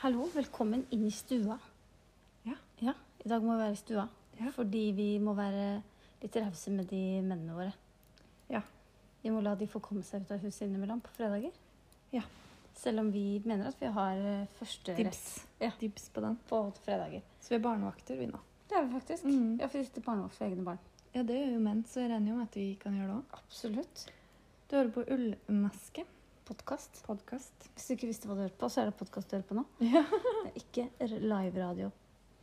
Hallo, velkommen inn i stua. Ja. Ja, I dag må vi være i stua. Ja. Fordi vi må være litt rause med de mennene våre. Ja. Vi må la de få komme seg ut av huset innimellom på fredager. Ja. Selv om vi mener at vi har eh, første rett Dibs. Ja. Dibs på den. på fredager. Mm. Så vi er barnevakter, vi nå. Det er vi faktisk. Mhm. Ja, for vi sitter barnevakt for egne barn. Ja, det gjør jo menn, så jeg regner jo med at vi kan gjøre det òg. Absolutt. Du hører på Ullmaske Podkast. podkast. Hvis du ikke visste hva du hørte på, så er det podkast du hører på nå. Ja. Det er ikke r- live-radio.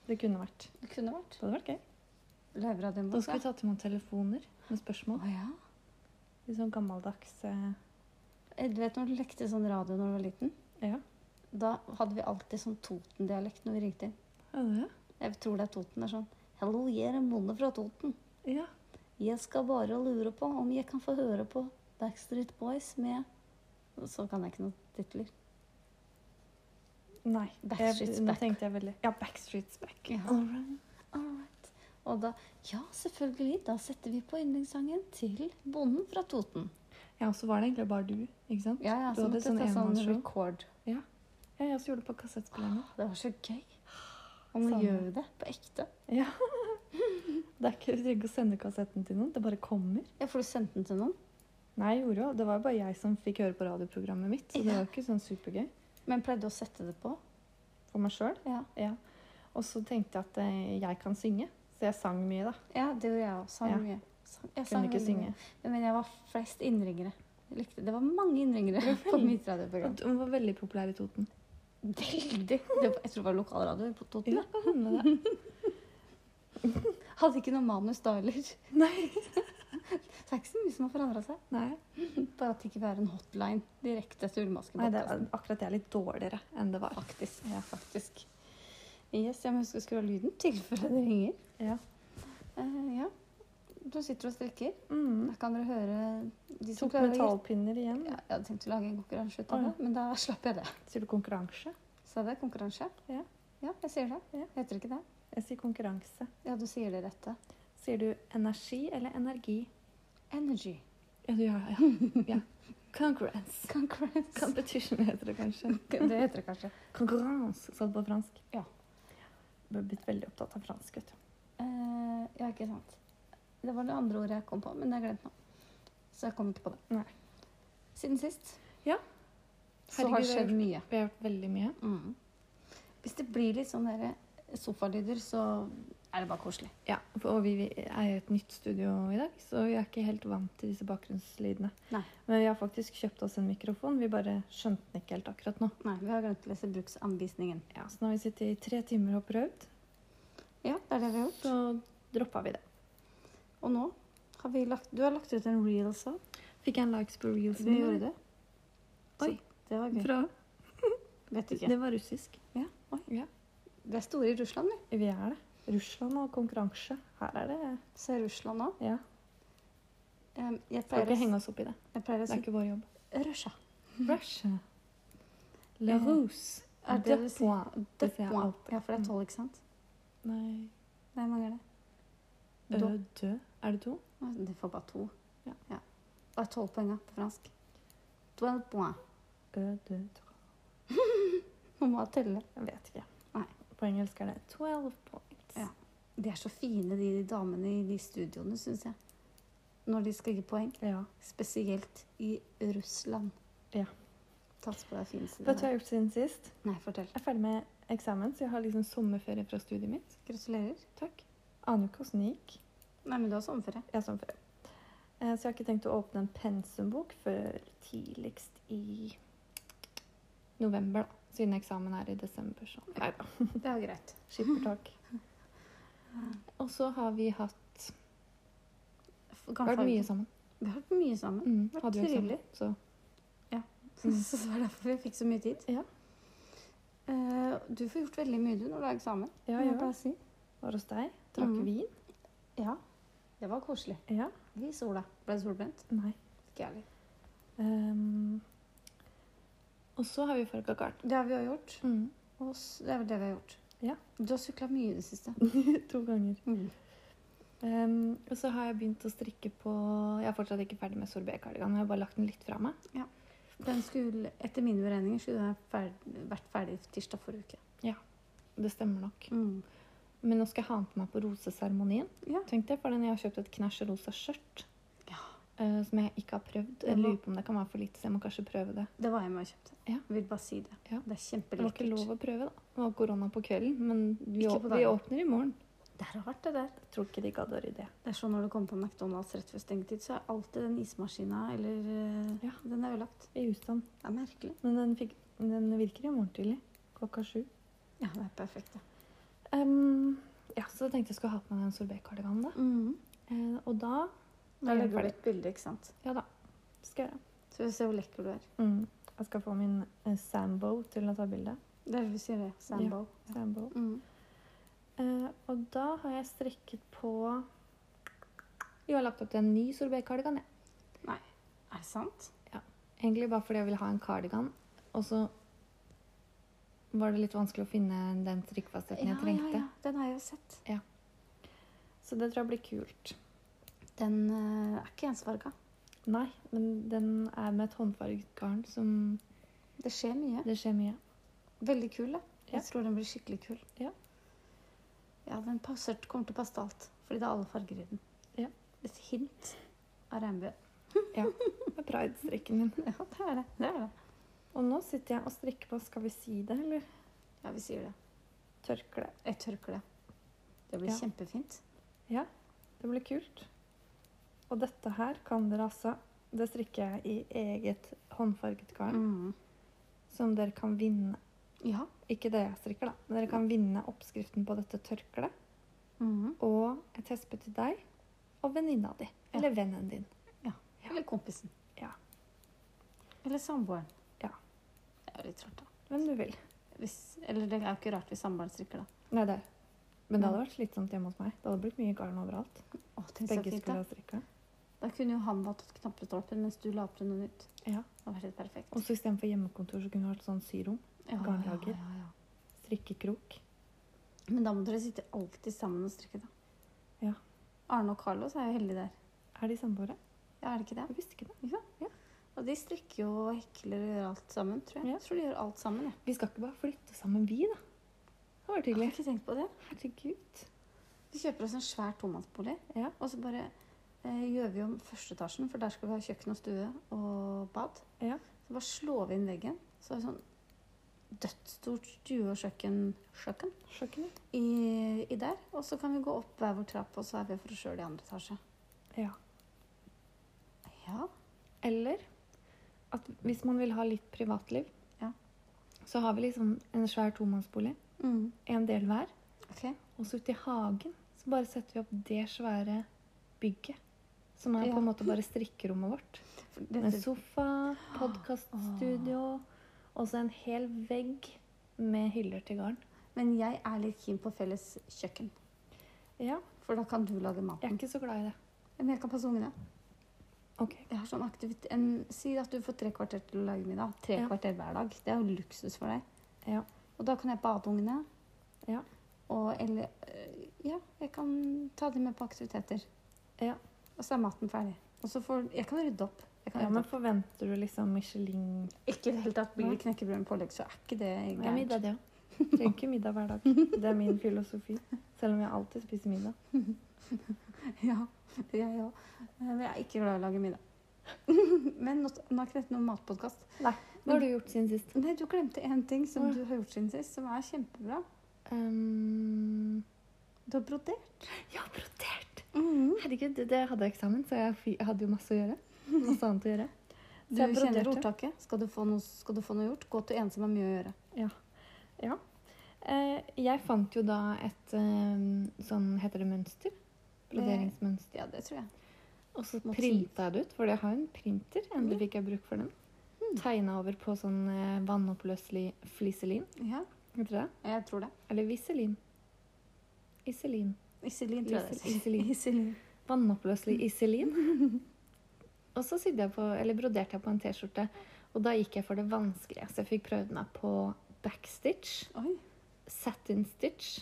Det kunne vært. Det kunne vært Det hadde vært gøy. live-radioen Da skal vi tatt imot telefoner med spørsmål. Å, ja. Litt sånn gammeldags eh, Eh, Du vet når du lekte sånn radio når du var liten? Ja. Da hadde vi alltid sånn Toten-dialekt når vi ringte inn. Ja, det er. Jeg tror det er Toten. det er sånn Hallo, jeg er en bonde fra Toten. det. ja. Jeg skal bare lure på om jeg kan få høre på Backstreet Boys med Så kan jeg ikke noen titler. Nei. Backstreet's jeg, nå back. tenkte jeg veldig Ja, Backstreet's Back. Ja. All right. All right. Og da Ja, selvfølgelig. Da setter vi på yndlingssangen til bonden fra Toten. Ja, og så var det egentlig bare du, ikke sant? Ja, ja, Du så hadde måtte jeg sånn ta sånn enmannsshow. record. Ja, jeg også gjorde det på kassettspilleren. Det var så gøy. Og nå Sånn. gjør vi det på ekte. Ja. Det er ikke, du trenger ikke å sende kassetten til noen, det bare kommer. Ja, For du sendte den til noen? Nei, jeg gjorde jo. Det var jo bare jeg som fikk høre på radioprogrammet mitt, så det var jo ikke sånn supergøy Men pleide du å sette det på? for meg sjøl. Ja. Ja. Og så tenkte jeg at eh, jeg kan synge, så jeg sang mye, da. Ja, det gjorde jeg òg. Sang Ja. mye. Sang, jeg sang Kunne ikke veldig synge. mye. Men jeg var flest innringere. Jeg likte, det var mange innringere på mitt radioprogram. Og Hun var veldig populær i Toten. Veldig! Det var, jeg tror det var lokalradio på Toten. Ja, kan hende det. Hadde ikke noe manus da heller. Det Nei. er ikke så mye som har forandra seg. Nei. Bare at det ikke er en hotline direkte til Nei, det er Ullmaskepodkasten. akkurat det er litt dårligere enn det var. Faktisk. Ja. Faktisk. Yes, jeg må huske å skru av lyden tilfelle det ringer. Ja. Eh, ja. Du sitter og strikker. Mm. Da kan dere høre de som Tok klarer å gjette. metallpinner igjen. Ja, jeg hadde tenkt å lage en konkurranse ut av Å, ja. det, men da slapp jeg det. Sier du konkurranse? Sa jeg det? Konkurranse? Ja. Ja, jeg sier det. Ja. Heter ikke det? Jeg sier konkurranse. Ja, du sier det rette. Sier du energi eller energi? Energy. Ja, du gjør det. Ja. Concurrence. Concurrence. Competition heter det kanskje. Det heter det kanskje. Konkurranse, sa du på fransk? Ja. Du har blitt veldig opptatt av fransk, vet du. Eh, ja, ikke sant. Det var det andre ordet jeg kom på, men det har jeg glemt nå. Så jeg kom ikke på det. Nei. Siden sist Ja. så har det Herregud, skjedd mye. Vi har gjort veldig mye. Mm. Hvis det blir litt sånn der sofalyder, så er det bare koselig. Ja, for- og vi vi er i et nytt studio i dag, så vi er ikke helt vant til disse bakgrunnslydene. Nei. Men vi har faktisk kjøpt oss en mikrofon, vi bare skjønte den ikke helt akkurat nå. Nei, vi har glemt å lese bruksanvisningen. Ja, Så nå har vi sittet i tre timer og prøvd, Ja, det er det vi har gjort. så droppa vi det. Og nå har vi lagt Du har lagt ut en reel også. Fikk jeg en likes på reels? Vi gjorde det. Oi, Det var gøy. fra, Vet ikke. det var russisk. Ja, oi. Ja. Vi er store i Russland, vi. Vi er det. Russland og konkurranse. Her er det Så er Russland òg. Ja. Jeg Skal pleier ikke å, henge oss opp i det. jeg pleier å Det er si ikke vår jobb. Russia. Russia. La Eh, Rose. er det du sier- point. Det sier jeg Døpmoa. alltid. Ja, for det er tolv, ikke sant? Nei. Nei, hvor mange er det? Ø, Do- dø. Er det to? Nei, De får bare to. Øh. Ja. Bare tolv poeng ja, på fransk. Twelve poeng. Ø, dø, to. Man må telle. Jeg vet ikke. Nei. På engelsk er det 12 points. Ja. De er så fine, de damene i de studioene, syns jeg. Når de skal gi poeng. Ja. Spesielt i Russland. Ja. Tatt på deg fineste Vet du hva jeg har gjort siden sist? Nei, fortell. Jeg er ferdig med eksamen, så jeg har liksom sommerferie fra studiet mitt. Gratulerer. Takk. Aner jo ikke åssen det gikk. Nei, men du har sommerferie. Jeg har sommerferie. Eh, Så jeg har ikke tenkt å åpne en pensumbok før tidligst i november, da. Siden eksamen er i desember. Sånn. Nei da. Det er jo greit. Skippertak. Og så har vi hatt F- kan Vært farge- mye sammen. Vi har vært mye sammen. Mm, vært hadde jo eksamen, trivelig. så Så det var derfor vi fikk så mye tid. Ja. Eh, du får gjort veldig mye du når du har eksamen. ja, Mhm. må jeg jeg bare si. var hos deg. Drakk Mm. vin. Ja, det var koselig. Ja. I sola. Ble du solbrent? Nei. Ikke jeg heller. Ehm, og så har vi farga kart. Det har vi jo gjort. Mm. Og s- det er vel det vi har gjort. Ja. Du har sykla mye i det siste. Mm. to ganger. Ehm, og så har jeg begynt å strikke på Jeg er fortsatt ikke ferdig med sorbetkardigan. Jeg har bare lagt den litt fra meg. Ja. Den skulle, etter mine beregninger skulle den ha ferd- vært ferdig tirsdag forrige uke. Mm. Det stemmer nok. Men nå skal jeg ha den på meg på roseseremonien. Ja. Tenkte jeg, for den jeg har kjøpt et knæsj rosa skjørt. Ja. eh, som jeg ikke har prøvd. Det Jeg var- lurer på om det kan være for lite, så jeg må kanskje prøve det. Det var jeg med og kjøpte. Ja. Vil bare si det. Ja. Det er Det var ikke lov kjempelekkert. å prøve, da. Det var korona på kvelden, men vi, Ikke å- på vi dagen. åpner i morgen. Det er rart, det der. Jeg tror ikke de gadd å rydde. Det er sånn når du kommer på McDonald's rett før stengetid, så er alltid den ismaskina eller eh, Ja. Den er ødelagt. I husstand. Det er merkelig. Men den, fikk, den virker i morgen tidlig. Klokka sju. Ja, det er perfekt, det. Em, ja, så tenkte jeg skulle ha på meg den sorbetkardiganen, da. Eh, og da Da Da er den Mm. legger du ferdig. ut bilde, ikke sant. Ja da. Det skal jeg gjøre. Så vi ser hvor lekker du er. Mm. Jeg skal få min eh, Sambo til å ta bilde. Det er det du sier, det. Sambo. Sambo. Mm. Eh, og da har jeg strekket på Jo, jeg har lagt opp til en ny sorbetkardigan. jeg. Er det sant? Egentlig bare fordi jeg ville ha en kardigan. Og så var det litt vanskelig å finne den strikkfastheten jeg trengte. ja, ja. Den har jeg jo sett. Så det tror jeg blir kult. Den eh, er ikke ensfarga. Nei, men den er med et håndfarget garn som Det skjer mye. Det skjer mye. Veldig kul, da. Ja. Jeg tror den blir skikkelig kul. Ja. Ja, den passer, kommer til å passe til alt, fordi det er alle farger i den. Ja. Et hint av regnbue. Med pridestrikken min. Ja, det er det. det er det. Og nå sitter jeg og strikker på Skal vi si det, eller Ja, vi sier det. tørkle? Et tørkle. Det blir Ja. kjempefint. Det blir kult. Og dette her kan dere altså Det strikker jeg i eget håndfarget garn, Mm. som dere kan vinne. Ja. Ikke det jeg strikker, da. Men dere kan vinne oppskriften på dette tørkleet Mhm. Mm. og et hespe til deg og venninna di. Ja. Eller vennen din. Eller kompisen. Ja. Eller samboeren. Ja. Det er jo litt rart, da. Hvem du vil. Hvis, eller det er jo ikke rart hvis samboeren strikker, da. Nei, det er Men det hadde vært slitsomt hjemme hos meg. Det hadde blitt mye garn overalt. Å, tenk så Begge fint, skulle da. ha strikka. Da kunne jo han valgt ut knappestolpen mens du la opp til noe nytt. Ja. Det hadde vært helt perfekt. Og så istedenfor hjemmekontor så kunne vi hatt sånn syrom. Ja, ja, garnlager. ja, ja. Strikkekrok. Men da må dere sitte alltid sammen og strikke, da. Ja. Arne og Carlos er jo heldige der. Er de samboere? Ja, er det ikke det? Jeg visste ikke det. Og de strikker jo og hekler og gjør alt sammen, tror jeg. Ja. Jeg tror de gjør alt sammen, jeg. Vi skal ikke bare flytte sammen, vi, da. Det var Jeg tydelig. har ikke tenkt på det. Herregud. Vi kjøper oss en svær tomannsbolig, Ja. og så bare eh, gjør vi om første etasjen, for der skal vi ha kjøkken og stue og bad. Ja. Så bare slår vi inn veggen, så er det sånn dødsstort stue og kjøkken, kjøkken Sjokkerende. i, i der. Og så kan vi gå opp hver vår trapp, og så er vi for oss sjøl i andre etasje. Ja. Ja. Eller at hvis man vil ha litt privatliv, Ja. så har vi liksom en svær tomannsbolig, Mm. en del hver. Ok. Og så ute i hagen så bare setter vi opp det svære bygget. Som er Ja. på en måte bare strikkerommet vårt. For Med Dette, sofa, podkaststudio og så en hel vegg med hyller til garn. men jeg er litt keen på felles kjøkken, Ja, for da kan du lage jeg er maten. ikke så glad i det. Men jeg kan passe ungene. Ok. Jeg har sånn aktivit en, si at du får tre kvarter til å lage middag. Tre Ja. kvarter hver dag. Det er jo luksus for deg. Ja. Og da kan jeg bade ungene. Ja. Og eller øh, Ja, jeg kan ta dem med på aktiviteter. Ja. Og så er maten ferdig. Og så får Jeg kan rydde opp. Jeg kan Ja, rydde men opp. forventer du liksom Michelin Ikke i det hele tatt. Blir Nei. det knekkebrød med pålegg, så er ikke det Ja, gærent. middag, det òg. Trenger ikke middag hver dag. Det er min filosofi. Selv om jeg alltid spiser middag. Ja, jeg òg. Men jeg er ikke glad i å lage middag. men nå, nå er ikke dette noen matpodkast. Hva har du gjort siden sist? Nei, du glemte én ting som Hva? du har gjort siden sist, som er kjempebra. Um, Du har brodert. ja, brodert! Mm. Herregud, det- det hadde jeg eksamen, så jeg, fi- jeg hadde jo masse å gjøre. Masse annet å gjøre. Du Så jeg kjenner broderte. ordtaket. Skal du, få noe, skal du få noe gjort, gå til en som har mye å gjøre. Eh, jeg fant jo da et eh, sånn Heter det mønster? Broderingsmønster. Ja, det tror jeg. Og så motiv. printa jeg Eh, det ut, for jeg har jo en printer. Endelig fikk jeg bruk for den. Tegna over på sånn eh, vannoppløselig fliselin. Ja, Heter det det? jeg tror det. Eller Viselin. Iselin. Iselin, tror jeg det. Iselin. Iselin. Vannoppløselig Iselin. Og så sydde jeg på, eller broderte jeg på en T-skjorte, og da gikk jeg for det vanskelige. Så jeg fikk prøvd meg på backstitch, Oi. satin stitch,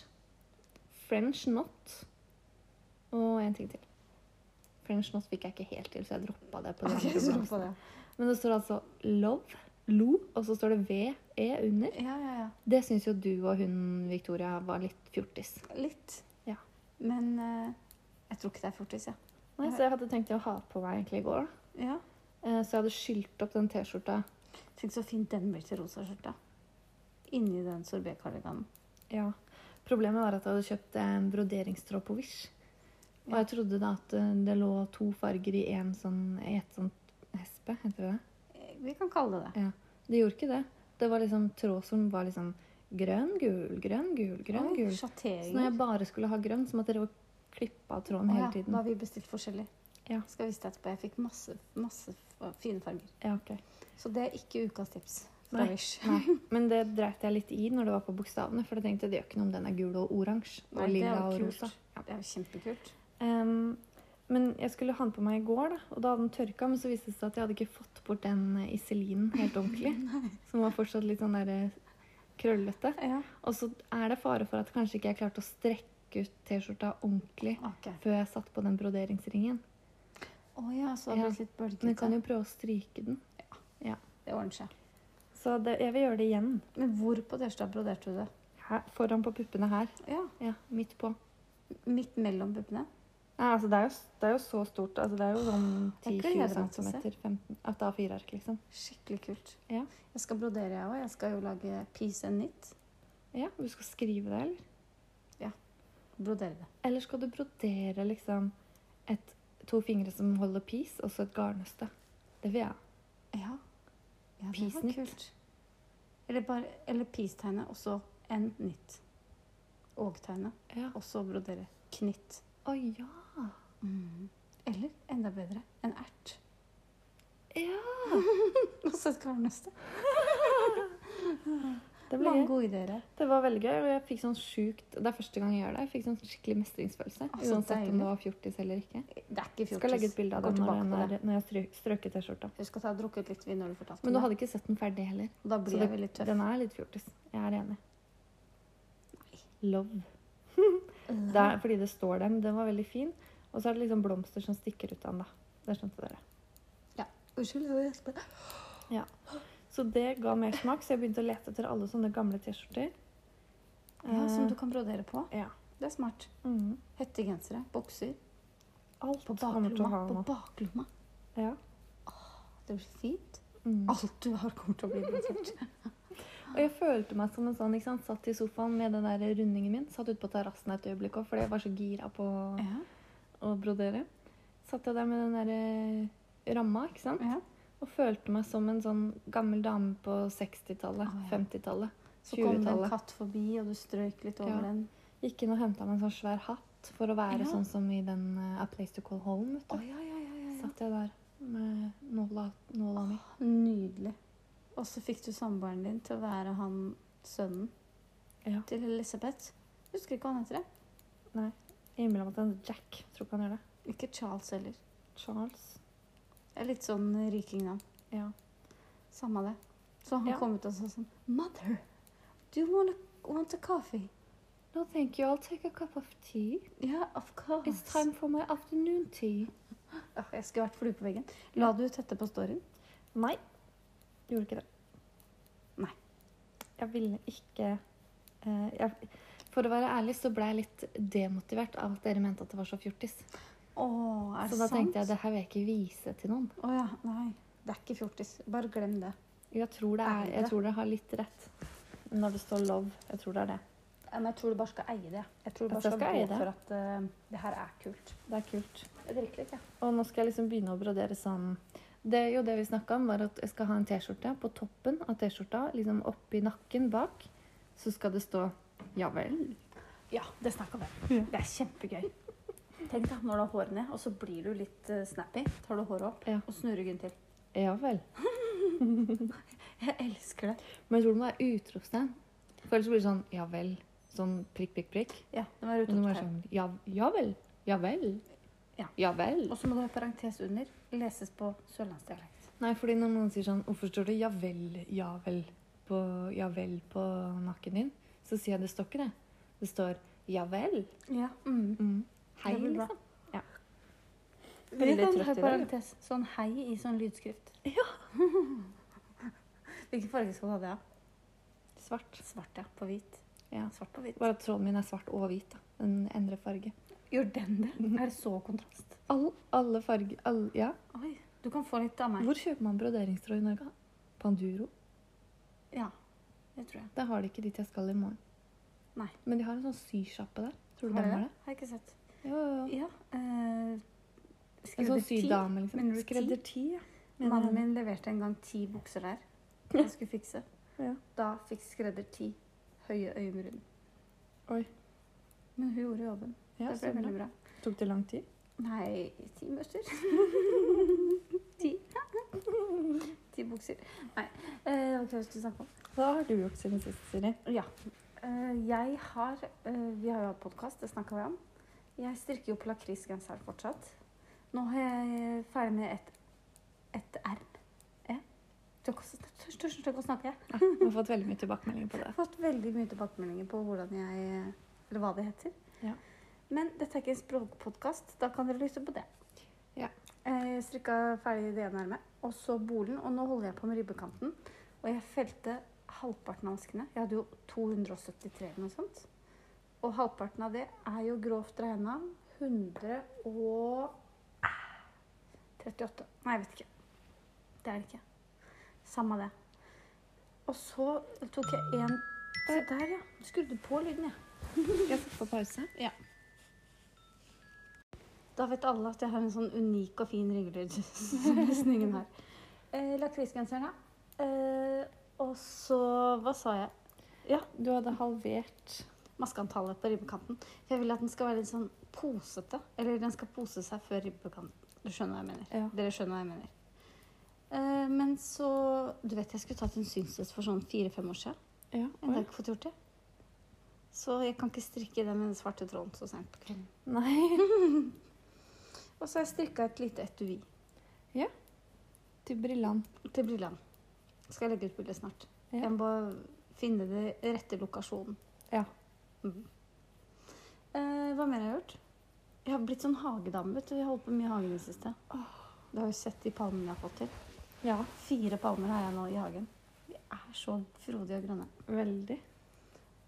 french knot og en ting til. French knot fikk jeg ikke helt til, så jeg droppa det. på den Ok, andre så bronsen. på det. Men det står altså love, lo, og så står det ve under. Ja, ja, ja. Det syns jo du og hun Victoria var litt fjortis. Litt. Ja. Men eh, jeg tror ikke det er fortis, jeg. Nei, så jeg hadde tenkt å ha på meg egentlig i går. Ja. Eh, Så jeg hadde skylt opp den T-skjorta. Tenk så fint den blir til rosa skjorta. Inni den sorbékardiganen. Ja. Problemet var at jeg hadde kjøpt en broderingstråd på Wish. Og jeg trodde da at eh, det lå to farger i en sånn, i et sånt hespe, heter det det? Eh, Vi kan kalle det det. Det gjorde ikke det. Det var liksom tråd som var liksom grønn, gul, grønn, gul, grønn, Oi, gul. Så når Sjatteringer. jeg bare skulle ha grønn, så måtte dere klippe av tråden Å hele ja, tiden. Da har vi bestilt forskjellig. Ja. Skal vise deg etterpå. Jeg fikk masse, masse f- fine farger. Ja, ok. Så det er ikke ukas tips fra Nei. Wish. Nei. Men det dreit jeg litt i når det var på bokstavene, for jeg tenkte det gjør ikke noe om den er gul og oransje Nei, og det er lilla jo og kult. rosa. Ja. Det er jo kjempekult. Em, men jeg skulle ha den på meg i går, da, og da hadde den tørka. Men så viste det seg at jeg hadde ikke fått bort den eh, iselinen helt ordentlig. som var fortsatt litt sånn der eh, krøllete. Ja. Og så er det fare for at kanskje ikke jeg klarte å strekke ut T-skjorta ordentlig Ok. før jeg satte på den broderingsringen. Å ja, så det har Ja. blitt litt Men jeg kan bølgete. jo prøve å stryke den. Det ordner seg. Så det, jeg vil gjøre det igjen. Men hvor på Dørstad broderte du det? Her, foran på puppene her. Ja, Ja, midt på. Midt mellom puppene? Nei, altså det er, jo, s- det er jo så stort. Altså det er jo sånn Jeg gleder 10-20 meg til å se. centimeter. 15, at det er fireark, liksom. Skikkelig kult. Ja. Jeg skal brodere, jeg òg. Jeg skal jo lage piece and knit. Ja, Du skal skrive det, eller? Brodere det. Eller skal du brodere liksom et, to fingre som holder pis, og så et garnnøste? Det vil jeg. Ja. ja det Piece var knit. kult. Eller, bare, eller peace-tegne, og så en knit. Og tegne, Ja. og så brodere. Knitt. Å ja! Mm. Eller enda bedre, en ert. Ja! Og så et garnnøste. Det, ble Mange gøy. gode ideer her. det var veldig gøy, og jeg fikk sånn sjukt Det er første gang jeg gjør det. Jeg fikk sånn skikkelig mestringsfølelse. Å, så uansett om deilig. det var fjortis eller ikke. Det er ikke Jeg fjortis. skal legge ut bilde av Går den når, tilbake den på er, når jeg har strø- strøket T-skjorta. Husk at jeg har drukket litt vin når du fortalte Men du meg. hadde ikke sett den ferdig heller. Og Da Så blir det- jeg veldig tøff. Den er litt fjortis. Jeg er enig. Love. Love. Det er, fordi det står den. Den var veldig fin. Og så er det liksom blomster som stikker ut av den, da. Det skjønte dere. Unnskyld, jeg gjesper. Så det ga mer smak, så jeg begynte å lete etter alle sånne gamle T-skjorter. Ja, som Eh, du kan brodere på. ja. Det er smart. mm. Hettegensere, bokser. Alt På kommer til baklomma. å ha På noe. baklomma. Ja. Det blir fint. Mm. Alt du har, kommer til å bli brodert. Og jeg følte meg som en sånn, ikke sant? satt i sofaen med den der rundingen min. Satt ute på terrassen et øyeblikk òg, fordi jeg var så gira på å- ja, å brodere. Satt jeg der med den der eh, ramma, ikke sant. ja. Og følte meg som en sånn gammel dame på 60-tallet, Å, ja. 50-tallet. Så kom det en 20-tallet. katt forbi, og du strøyk litt over Ja. den. Gikk inn og henta meg en sånn svær hatt for å være Ja. sånn som i den eh, A Place To Call Home. Vet du. ja, ja, ja, Satt jeg der med nåla, nåla mi. Nydelig. Og så fikk du samboeren din til å være han sønnen Ja. til Elisabeth. Husker ikke hva han heter. jeg. Jeg innbiller meg at han heter Jack. Tror ikke han gjør det. Ikke Charles heller. Charles. Det er litt sånn rikingnavn. Ja. Samme det. Så han Ja. kom ut og sa sånn Mother, do you wanna, want a coffee? No, thank you. I'll take a cup of tea. Yeah, of course. It's time for my afternoon tea. Åh, jeg skulle vært flue på veggen. La du ut dette på storyen? Nei. Gjorde ikke det. Nei. Jeg ville ikke eh, jeg, For å være ærlig så ble jeg litt demotivert av at dere mente at det var så fjortis. Å, er Så det da sant? tenkte jeg det her vil jeg ikke vise til noen. Å ja, nei. Det er ikke fjortis. Bare glem det. Jeg tror, det er, Er det? jeg tror dere har litt rett når det står love. Jeg tror det er det. Ja, Men jeg tror du bare skal eie det. Jeg tror du bare At skal, jeg skal eie gå det? for at eh, det her er kult. Det er kult. Jeg drikker litt, jeg. Og nå skal jeg liksom begynne å brodere sånn det, er jo, det vi snakka om, var at jeg skal ha en T-skjorte. På toppen av T-skjorta, liksom oppi nakken bak, så skal det stå 'ja vel'. Ja, det snakka vi om. Det er kjempegøy. Tenk da, når du har håret ned, og så blir du litt eh, snappy. Tar du håret opp Ja. og snur ryggen til. Ja vel. Jeg elsker det. Men jeg tror det må være utropstegn. For ellers blir det sånn 'ja vel'. Sånn prikk, prikk, prikk. Ja, det var Men det må være utropstegn. sånn 'ja, ja vel'. Ja vel. Ja. Ja vel. Og så må du ha parentes under. Leses på sørlandsdialekt. Nei, fordi når noen sier sånn 'Hvorfor står det 'ja vel, ja vel' på, ja vel på nakken din?' Så sier jeg det står ikke det. Det står 'ja vel'. Ja. Mm. Mm. Hei, Det blir bra. liksom. Ja. Vi Veldig kan trøtt ha i dag. ja. parentes. Sånn hei i sånn lydskrift. Ja. Hvilken farge skal du ha det av? Svart. Svart, ja. På hvit. Ja. Svart på hvit. Bare at tråden min er svart og hvit. da. Den endrer farge. Gjør den det? Er det så kontrast? All, alle farger all, Ja. Oi. Du kan få litt av meg. Hvor kjøper man broderingstråd i Norge? Panduro. Ja. Det tror jeg. Det har de ikke dit jeg skal i morgen. Nei. Men de har en sånn sysjappe der. Tror du Har de jeg det? har det? Har jeg ikke sett. Jo, jo, jo. Ja. eh, En sånn ti. sydame, liksom. Mener du ti? Skredderti, ja. Mener Mannen han. min leverte en gang ti bukser der. Jeg skulle fikse. Ja. Da fikk skredder ti høye øyenbryn. Oi. Men hun gjorde jobben. Ja, det så ble bra. veldig bra. Tok det lang tid? Nei, ti møster. ti. ti bukser. Nei, eh, det var ikke det jeg skulle snakke om. Hva har du gjort siden sist, Siri? Ja. Eh, jeg har eh, Vi har jo hatt podkast, det snakka vi om. Jeg strikker jo på lakrisgenser fortsatt. Nå er jeg ferdig med et, et erm. Ja. Tør ikke å- tør- tør ikke å snakke. Ja, vi har fått veldig mye tilbakemeldinger på det. Jeg har fått veldig mye tilbakemeldinger på hvordan jeg Eller hva det heter. Ja. Men dette er ikke en språkpodkast. Da kan dere lytte på det. Eh, Ja. Jeg strikka ferdig det ene ermet, og så bolen. Og nå holder jeg på med ribbekanten. Og jeg felte halvparten av askene. Jeg hadde jo 273 eller noe sånt. Og halvparten av det er jo grovt regna 138. Nei, jeg vet ikke. Det er det ikke. Samme det. Og så tok jeg en Se der, ja. Skrudde på lyden, jeg. Jeg satt på pause. Da vet alle at jeg har en sånn unik og fin ringelyd. som nesten ingen har. Eh, Lakrisgenseren, ja. Eh, og så Hva sa jeg? Du hadde halvert Maskeantallet på ribbekanten. For jeg vil at den skal være litt sånn posete. Eller den skal pose seg før ribbekanten. Du skjønner hva jeg mener. Ja. Dere skjønner hva jeg mener. Eh, men så Du vet jeg skulle tatt en synstest for sånn fire-fem år siden. Ja. Jeg har ikke fått gjort det. Så jeg kan ikke strikke den med den svarte tråden så sent på kvelden. Nei. Og så har jeg strikka et lite etui. Til brillant. Til Brilland. Skal jeg legge ut bilde snart. Ja. Jeg må bare finne den rette lokasjonen. Ja. Mhm. Eh, hva mer har jeg gjort? Jeg har blitt sånn hagedame, vet du. Jeg har holdt på mye i hagen i det siste. Du har jo sett de palmene jeg har fått til. Ja. Fire palmer har jeg nå i hagen. De er så frodige og grønne. Veldig.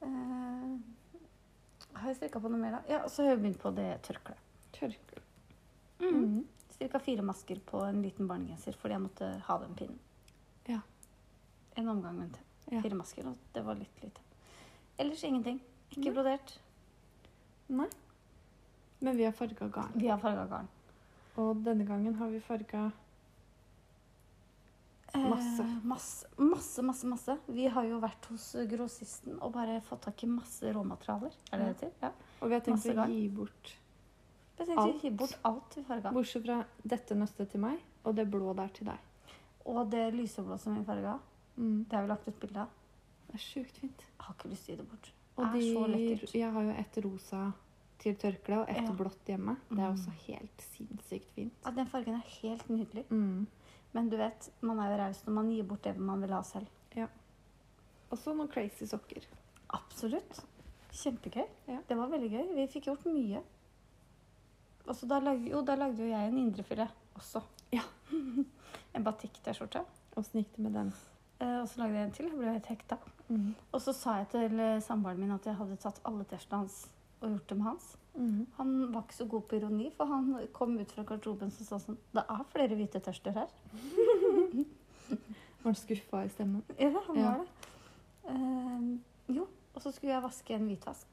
Eh, har jeg strikka på noe mer, da? Ja, så har jeg begynt på det tørkleet. Tørkle. Mm. Mm. Strikka fire masker på en liten barnegenser fordi jeg måtte ha den pinnen. Ja. En omgang venter jeg. Ja. Fire masker, og det var litt lite. Ellers ingenting. Ikke Nei. brodert. Nei. Men vi har farga garn. Vi har farga garn. Og denne gangen har vi farga Masse. Eh, masse, masse, masse, masse. Vi har jo vært hos grossisten og bare fått tak i masse råmaterialer. Er det det heter? Ja. Og vi har tenkt Masse å garn. gi bort Jeg tenkte vi Alt. gir bort alt vi farga. Bortsett fra dette nøstet til meg, og det blå der til deg. Og det lyseblå som vi farga, Mm. det har vi lagt ut bilde av. Det er sjukt fint. Jeg Har ikke lyst til å gi det bort. Og er så de, lekkert. jeg har jo et rosa til tørkle og et Ja. blått hjemme. Det er Mm. også helt sinnssykt fint. Ja, den fargen er helt nydelig. Mm. Men du vet, man er jo raus når man gir bort det man vil ha selv. Og så noen crazy sokker. Absolutt. Kjempegøy. Ja. Det var veldig gøy. Vi fikk gjort mye. Og så da lagde, jo, da lagde jo jeg en indrefilet også. Ja. en batikk-T-skjorte. Åssen gikk det med den? Eh, Og så lagde jeg en til. Jeg ble helt hekta. Mm. Og så sa jeg til eh, samboeren min at jeg hadde tatt alle T-skjortene hans og gjort dem hans. Mm. Han var ikke så god på ironi, for han kom ut fra garderoben og sa sånn Det er flere hvite T-skjorter her. Var han skuffa i stemmen? Ja, han Ja. var det. Eh, jo. Og så skulle jeg vaske en hvitvask.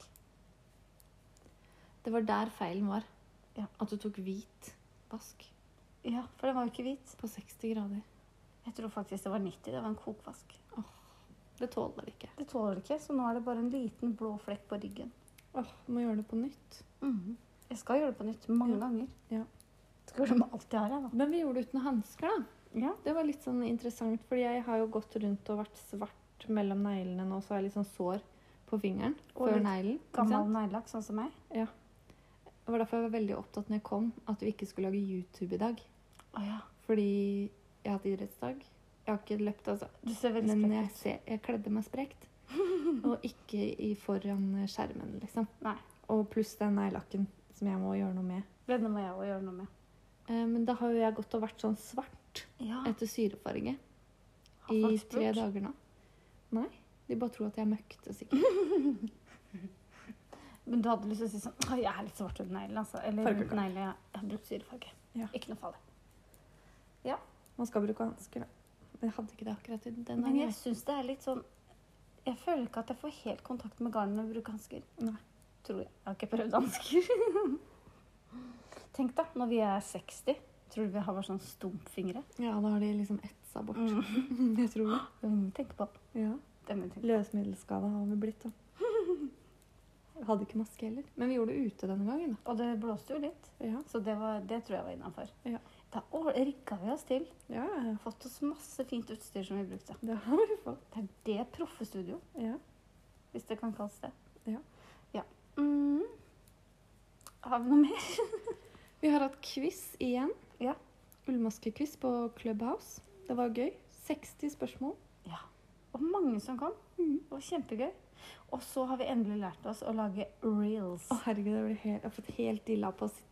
Det var der feilen var. Ja. At du tok hvit vask Ja, for den var jo ikke hvit. på 60 grader. Jeg tror faktisk det var 90. Det var en kokvask. Det tåler ikke. Det tåler ikke, så nå er det bare en liten blå flekk på ryggen. Åh, Må gjøre det på nytt. Jeg skal gjøre det på nytt mange Ja. ganger. Ja. Skal gjøre det med alt jeg har, jeg, Men vi gjorde det uten hansker, da. da. Ja. Det var litt sånn interessant, fordi jeg har jo gått rundt og vært svart mellom neglene nå, så har jeg litt sånn sår på fingeren Og før litt neglen. ikke sant? Gammel neglelakk, sånn som meg. Det var derfor jeg var veldig opptatt når jeg kom, at vi ikke skulle lage YouTube i dag. Å ja. Fordi jeg har hatt idrettsdag. Jeg har ikke løpt, altså. Du ser veldig Men sprek jeg, ser, jeg kledde meg sprekt. Og ikke i foran skjermen, liksom. Nei. Og pluss den neglelakken som jeg må gjøre noe med. ut. Denne må jeg også gjøre noe med. Eh, Men da har jo jeg gått og vært sånn svart Ja. etter syrefarge Har i folk spurt? tre dager nå. Nei, de bare tror at jeg møkte sikkert. Men du hadde lyst til å si sånn «Å, Jeg er litt svart under neglene, altså. Eller Fargeblå. rundt neglene. ja. Jeg har brukt syrefarge. Ja. Ikke noe farlig. Man skal bruke hansker, da. Men jeg hadde ikke det akkurat i den dagen. Men jeg syns det er litt sånn Jeg føler ikke at jeg får helt kontakt med garnet når jeg bruker hansker. Nei. Tror jeg. Jeg har ikke prøvd hansker. Tenk da, når vi er 60, tror du vi har bare sånn stumpfingre? Ja, da har de liksom etsa bort. Mm. Jeg tror det. Det må vi tenke på. Ja. Det må vi tenke på. Løsmiddelskada har vi blitt, da. Jeg hadde ikke maske heller. Men vi gjorde det ute denne gangen, Og det blåste jo litt, da. Ja, så det, var, det tror jeg var innafor. Ja. Da å- rigga vi oss til. ja, ja. Fått oss masse fint utstyr som vi brukte. Det har vi fått. Det er det proffe studio, Ja. hvis det kan kalles det. Ja. ja. Mm. Har vi noe mer? Vi har hatt quiz igjen. Ja. Ullmaskequiz på Clubhouse. Det var gøy. 60 spørsmål. Og mange som kom. Mhm. Det var kjempegøy. Og så har vi endelig lært oss å lage reels. Å herregud, jeg, blir helt, jeg har fått helt illa på å sitt-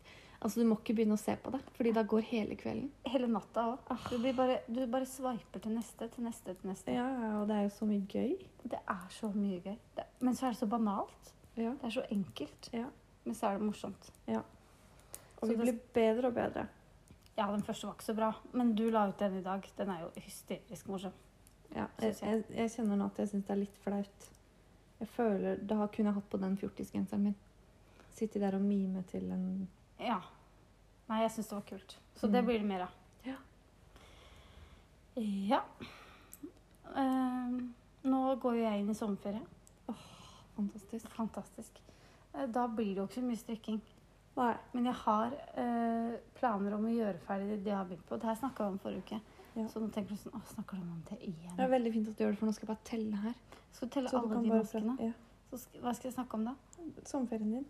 Altså, Du må ikke begynne å se på det, fordi da går hele kvelden. Hele natta òg. Ah. Du, blir bare- du bare sveiper til neste, til neste, til neste. Ja, og det er jo så mye gøy. Det er så mye gøy. Det, men så er det så banalt. Ja. Det er så enkelt. Ja. Men så er det morsomt. Og Så vi det- blir bedre og bedre. Ja, den første var ikke så bra, men du la ut den i dag. Den er jo hysterisk morsom. Ja, jeg, Synes jeg, jeg. jeg kjenner nå at jeg syns det er litt flaut. Jeg føler, Da kunne jeg hatt på den fjortisgenseren min. Sitte der og mime til en Ja. Nei, jeg syns det var kult. Så det Mm. blir det mer av. Ja. Ja. Ehm, nå går jo jeg inn i sommerferie. Fantastisk. Fantastisk. Eh, Da blir det jo ikke så mye strikking. Nei. Men jeg har eh, planer om å gjøre ferdig det jeg har begynt på. Det her snakka vi om forrige uke. Ja. Så nå tenker du sånn Å, snakker de om det igjen? Det er veldig fint at du gjør det, for nå skal jeg bare telle her. Skal du telle Så du alle kan de bare maskene? prate- Så sk hva skal jeg snakke om da? Ja. Sommerferien din.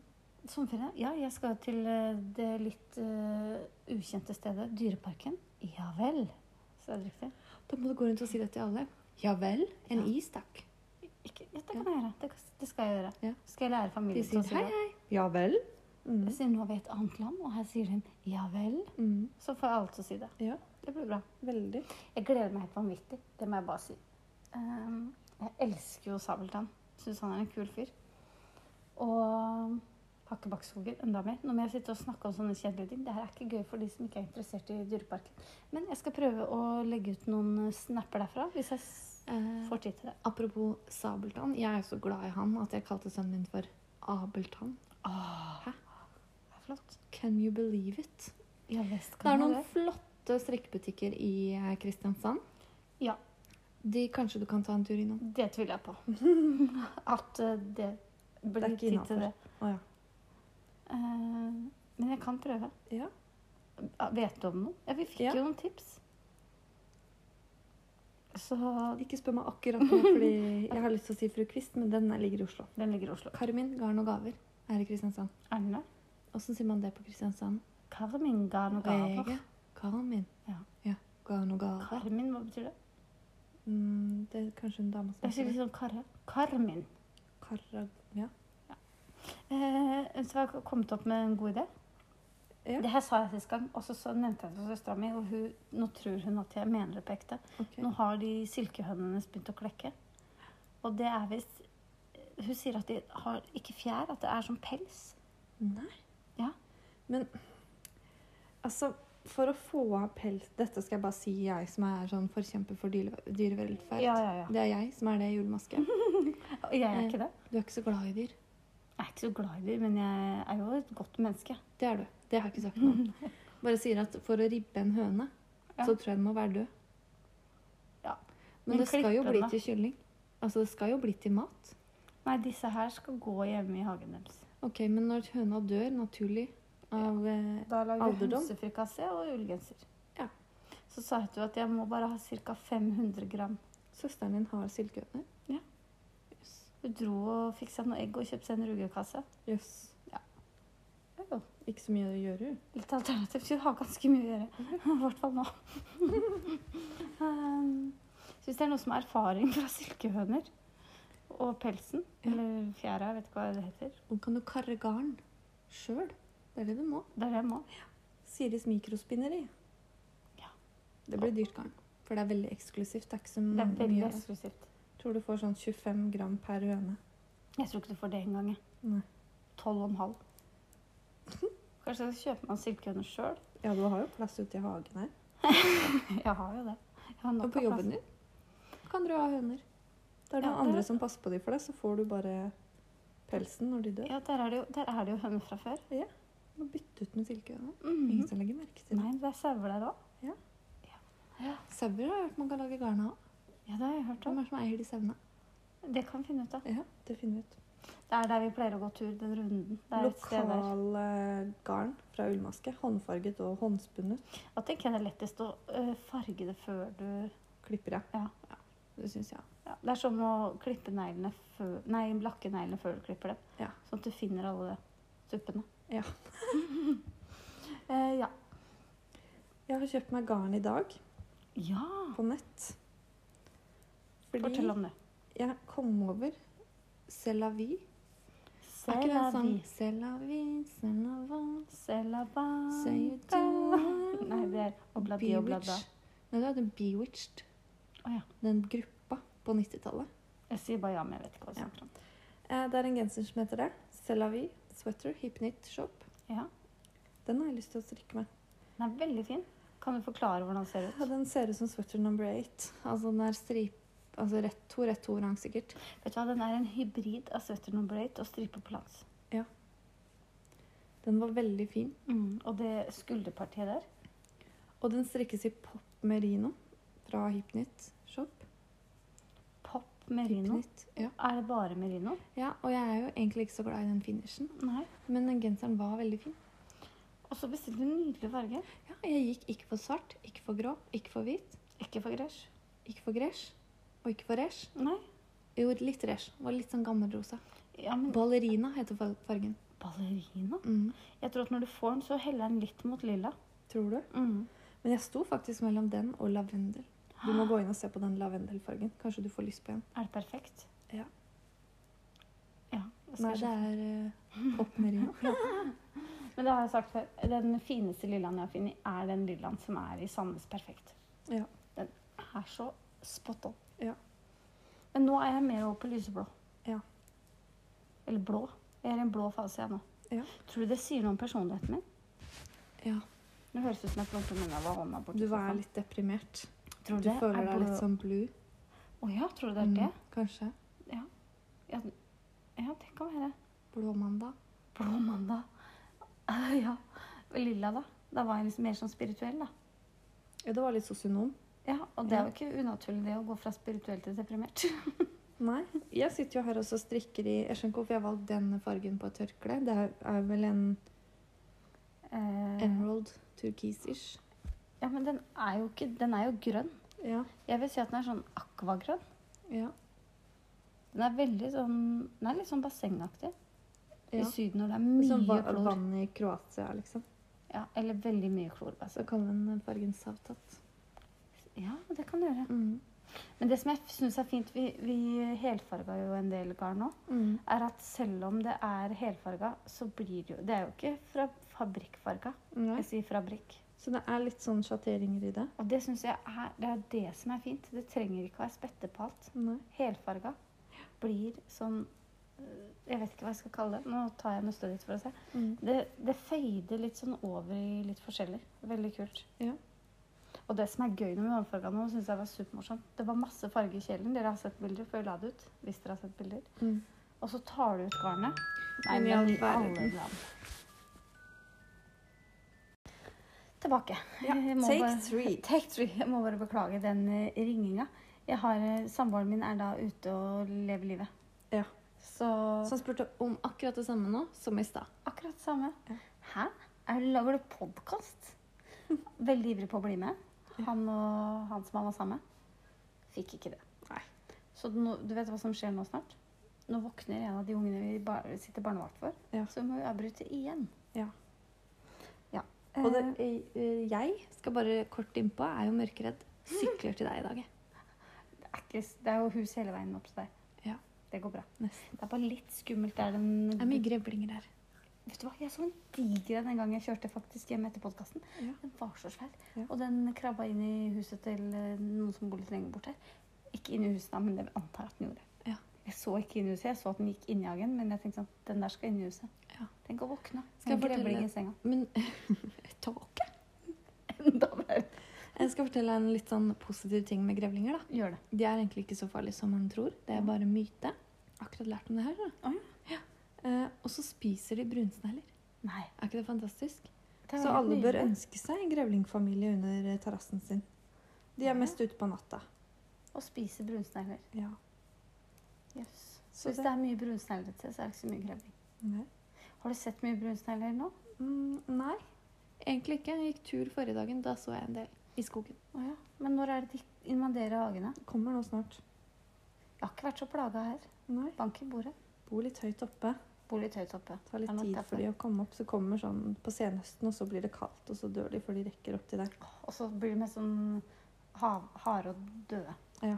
Sommerferie? Ja, jeg skal til eh, det litt eh, ukjente stedet. Dyreparken. Ja vel. Så er det riktig? Da må du gå rundt og si det til alle. Ja vel. En Ja. is, takk. Ikke, ja, det kan jeg gjøre. Det, kan- det skal jeg gjøre. Ja. Skal jeg lære De familien sier hei, hei. sånn Ja vel. Mm. Siden nå er vi i et annet land, og her sier de ja vel, Mm. så får jeg alle til å si det. Ja. Det blir bra. Veldig. Jeg gleder meg helt vanvittig. Det må jeg bare si. Ehm, jeg elsker jo Sabeltann. Syns han er en kul fyr. Og Hakkebakkeskogen enda mer. Nå må jeg sitte og snakke om sånne kjedelige ting. Det her er ikke gøy for de som ikke er interessert i Dyreparken. Men jeg skal prøve å legge ut noen eh, snapper derfra, hvis jeg s- Eh, får tid til det. apropos Sabeltann. Jeg er så glad i han at jeg kalte sønnen min for Abeltann. Åh, Hæ? det er flott. Can you believe it? Ja visst Det er kan jeg noen det. flotte strikkebutikker i eh, Kristiansand. Ja. De kanskje du kan ta en tur innom. Det tviler jeg på. At eh, det Det blir er tid ikke til innenfor. det. Å ja. Eh, men jeg kan prøve. Ja. Ja, Vet du om noe? Ja, vi fikk Ja. jo noen tips. Så Ikke spør meg akkurat nå, fordi jeg har lyst til å si Fru Kvist, men den ligger i Oslo. den ligger i Oslo. Karmin garn og gaver er i Kristiansand. Erne, Åssen sier man det på Kristiansand? Carmin ga noe gaver. Ege. Karmin. Ja. Garn og gaver. Carmin, hva betyr det? Mm, det er kanskje en dame Det er som ikke heter det. liksom karre. Carmin. Karra... Ja. Eh, så jeg har kommet opp med en god idé. Ja. Det her sa jeg sist gang, og så, så nevnte jeg det for søstera mi. Og hun, nå tror hun at jeg mener det på ekte. Ok. Nå har de silkehønene hennes begynt å klekke. Og det er visst Hun sier at de har ikke fjær, at det er som pels. Nei. Ja. Men altså, for å få av pels Dette skal jeg bare si, jeg som er sånn forkjemper for dyre- dyrevelferd. Ja, ja, Mhm. ja. Det er jeg som er det i julemaske. Og jeg er ikke det. Du er ikke så glad i dyr. Jeg er ikke så glad i dyr, men jeg er jo et godt menneske. Det er du. Det har jeg ikke sagt noe om. Bare sier at for å ribbe en høne, Ja. så tror jeg den må være død. Ja. Men Men det skal jo klipp den, bli da. til kylling. Altså, det skal jo bli til mat. Nei, disse her skal gå hjemme i hagen deres. Ok, men når høna dør naturlig av eh, Da lager vi Alderdom. hønsefrikassé og ullgenser. Ja. Så sa jeg til henne at jeg må bare ha ca. 500 gram. Søsteren din har silkehøner. Ja. Jøss. Hun dro og fiksa noe egg og kjøpte seg en rugekasse. Jøss. Det er jo Ikke så mye å gjøre, jo. Litt alternativt. Hun har ganske mye å gjøre. I hvert fall nå. um, så hvis det er noe som er erfaring fra silkehøner og pelsen, Ja. eller fjæra, jeg vet ikke hva det heter, Og kan du karre garn sjøl? Det er det du må. det er det jeg må. Siris mikrospinneri. Ja. Det blir dyrt garn. For det er veldig eksklusivt. Det er ikke så Mm, Det er veldig mye. av det. eksklusivt. Tror du får sånn 25 gram per høne. Jeg tror ikke du får det engang. jeg. Nei. 12,5. Kanskje jeg skal kjøpe meg en silkehøne sjøl? Ja, du har jo plass ute i hagen her. Jeg har jo det. Jeg har nok Og på av plass. jobben din kan dere ha høner. Da er det Ja, noen det- andre som passer på dem for deg, så får du bare pelsen når de dør. Ja, der er det jo, der er det jo høner fra før. Og bytte ut med silkehøne. Ingen Mhm. som legger merke til det. Nei, det er sauer der òg. Sauer har jeg hørt man kan lage garn av. Ja, det har jeg hørt om. Hvem er det som eier de sauene? Det kan vi finne ut av. Ja, det finner vi ut. Det er der vi pleier å gå tur, den runden. Det er et sted der. Lokale eh, garn fra ullmaske. Håndfarget og håndspunnet. Da tenker jeg det er lettest å øh, farge det før du Klipper jeg. Ja. Det syns jeg. ja, Det er som å klippe neglene før Nei, lakke neglene før du klipper dem. Ja. Sånn at du finner alle tuppene. Ja. Eh, ja. Jeg har kjøpt meg garn i dag ja. på nett. Fordi Fortell om det. jeg kom over C'est la vie. Er ikke det en sånn sang? Selavi. C'est la vie, c'est la vie, Selabanka. Seidu. Ah. Nei, det er obladi oblada. Bewitched. Nei, det heter Bewitched. Å ja. Den gruppa på 90-tallet. Jeg sier bare ja, men jeg vet ikke hva jeg Ja. snakker om. Eh, Det er en genser som heter det. C'est la vie, sweater, hipknit shop. Ja. Den har jeg lyst til å strikke med. Den er veldig fin. Kan du forklare hvordan den ser Ja, ut? den ser ut som sweater number eight. Altså den er strip... Altså rett to, rett to rang sikkert. Vet du hva, Den er en hybrid av sweater number eight og stripe på langs. Den var veldig fin. Mm, Og det skulderpartiet der Og den strikkes i pop merino fra Hipknit shop. Pop merino. Hipknit, Ja. Er det bare merino? ja, og jeg er jo egentlig ikke så glad i den finishen. Nei. Men den genseren var veldig fin. Og så bestilte du nydelige farger. Ja, jeg gikk ikke for svart, ikke for grå, ikke for hvit, Ikke for gresj. ikke for gresj, og ikke for resj. Nei. Jo, litt resj. Var litt sånn gammelrosa. Ja, men Ballerina heter far- fargen. ballerina? Mm. Jeg tror at når du får den, så heller den litt mot lilla. Tror du? Men jeg sto faktisk mellom den og lavendel. Du må gå inn og se på den lavendelfargen. Kanskje du får lyst på en. Ah, Er det perfekt? Ja. Ja, jeg skal Nei, det sjekke. er eh, pop merino. Men det har jeg sagt før. Den fineste lillaen jeg har funnet, er den lillaen som er i Sandnes Perfekt. Ja. Den er så spot on. Ja. Men nå er jeg mer over på lyseblå. Ja. Eller blå. Jeg er i en blå fase jeg nå. Ja. Tror du det sier noe om personligheten min? Ja. Det høres ut som jeg plumper munnen av hånda borti Du sofaen. er litt deprimert. Tror Du det føler er deg litt blå- sånn blue. Å ja, tror du det er det? Mm, kanskje. Ja, ja det kan være. Blåmandag. Blå mandag. Ah, ja. Og Lilla, da? Da var jeg liksom mer sånn spirituell, da. Ja, det var litt sosionom. Ja, Og det er jo ikke unaturlig, det å gå fra spirituell til deprimert. Nei. Jeg sitter jo her og så strikker i Jeg skjønner ikke hvorfor jeg har valgt denne fargen på et tørkle. Det er, er vel en Eh, emerald turkisish. ja, men den er jo ikke Den er jo grønn. Ja. Jeg vil si at den er sånn akvagrønn. Ja. Den er veldig sånn Den er litt sånn bassengaktig. I ja. Syden når det er Mye mye sånn va klor. vann i Kroatia, liksom. Ja, eller veldig mye klor. Altså. Så kaller den eh, fargen savtatt. Ja, det kan du gjøre. Mm. Men det som jeg syns er fint, vi, vi helfarga jo en del garn nå, Mm. er at selv om det er helfarga, så blir det jo Det er jo ikke fra fabrikkfarga. Nei. Jeg sier fabrikk. Så det er litt sånn sjatteringer i det. Og det syns jeg er det, er det som er fint. Det trenger ikke å være spette på alt. Nei. Helfarga blir sånn øh, Jeg vet ikke hva jeg skal kalle det. Nå tar jeg nøstet ditt for å se. Mm. Det, det fader litt sånn over i litt forskjellig. Veldig kult. Ja. Og det som er gøy med håndfarga nå, syns jeg var supermorsomt. Det var masse farge i kjelen. Dere har sett bilder før jeg la det ut. Hvis dere har sett bilder. Mm. Og så tar du ut garnet. Men i all men i alle verden. land. Tilbake. Ja, Jeg må take bare- three. Take three. Jeg må bare beklage den eh, ringinga. Jeg har, eh, Samboeren min er da ute og lever livet. Ja. Så, Så han spurte om akkurat det samme nå som i stad. akkurat samme. Ja. Hæ? Er du, lager du podkast? Veldig ivrig på å bli med. Han og han som han var sammen med. Fikk ikke det. Nei. Så nå, du vet hva som skjer nå snart? Nå våkner en av de ungene vi bar sitter barnevakt for. Ja. Så vi må jo avbryte igjen. Ja. Ja. Og det, Eh, eh, eh, jeg skal bare kort innpå, er jo mørkeredd. Sykler til deg i dag, jeg. det, er ikke, s- Eh, det er jo hus hele veien opp til deg. Ja. Det går bra. Nesten. Det er bare litt skummelt. Det er den Det er mye grevlinger her. Vet du hva, Jeg så en diger en en gang jeg kjørte faktisk hjem etter podkasten. Ja. Den var så svær. Ja. Og den krabba inn i huset til eh, noen som bor litt lenger bort her. Ikke inn i huset, da, men det antar jeg at den gjorde. Ja. Jeg så ikke inn i huset, jeg så at den gikk inn i hagen, men jeg tenkte sånn, den der skal inn i huset. Ja. Tenk å våkne. Skal jeg En fortelle- grevling i senga. Men tåke? Enda mer. Jeg skal fortelle en litt sånn positiv ting med grevlinger. da. Gjør det. De er egentlig ikke så farlige som man tror. Det er bare myte. Akkurat lært om det her. da. Å, Ja. Eh, og så spiser de brunsnegler. Nei. Er ikke det fantastisk? det er så helt alle bør nydelig. ønske seg en grevlingfamilie under eh, terrassen sin. De Ja. er mest ute på natta. Å spise brunsnegler. Ja. Yes. Så Så hvis det- det er mye brunsnegler til, så er det ikke så mye grevling. Nei. Har du sett mye brunsnegler nå? Mm, nei, egentlig ikke. Jeg gikk tur forrige dagen. Da så jeg en del i skogen. Å ja. Men når er det de invaderer hagene? Kommer nå snart. Jeg har ikke vært så plaga her. Nei. Bank i bordet. Bo litt høyt oppe. Bor litt høyt oppe. Tar Det litt er nok tid derfor. for de å komme opp. Så kommer sånn på senhøsten, og så blir det kaldt, og så dør de før de rekker opp til deg. Og så blir de mest sånn hav- harde og døde. Ja.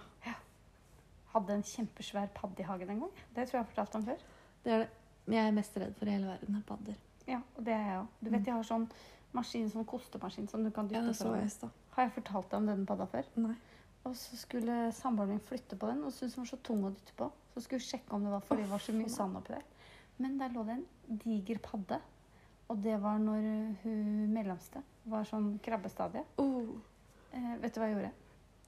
Hadde en kjempesvær padde i hagen en gang. Det tror jeg jeg har fortalt om før. Det er det. Men jeg er mest redd for i hele verden, er padder. Ja, og det er jeg òg. Du vet jeg har sånn maskin, sånn kostemaskin som du kan Ja, dytte det så foran. jeg i stad. Har jeg fortalt deg om denne padda før? Nei. Og så skulle samboeren min flytte på den, og syntes den var så tung å dytte på. Så skulle hun sjekke om det var fordi det var så mye sand oppi der. Men der lå det en diger padde. Og det var når eh, hun mellomste var sånn krabbestadie. Oh. Eh, vet du hva jeg gjorde?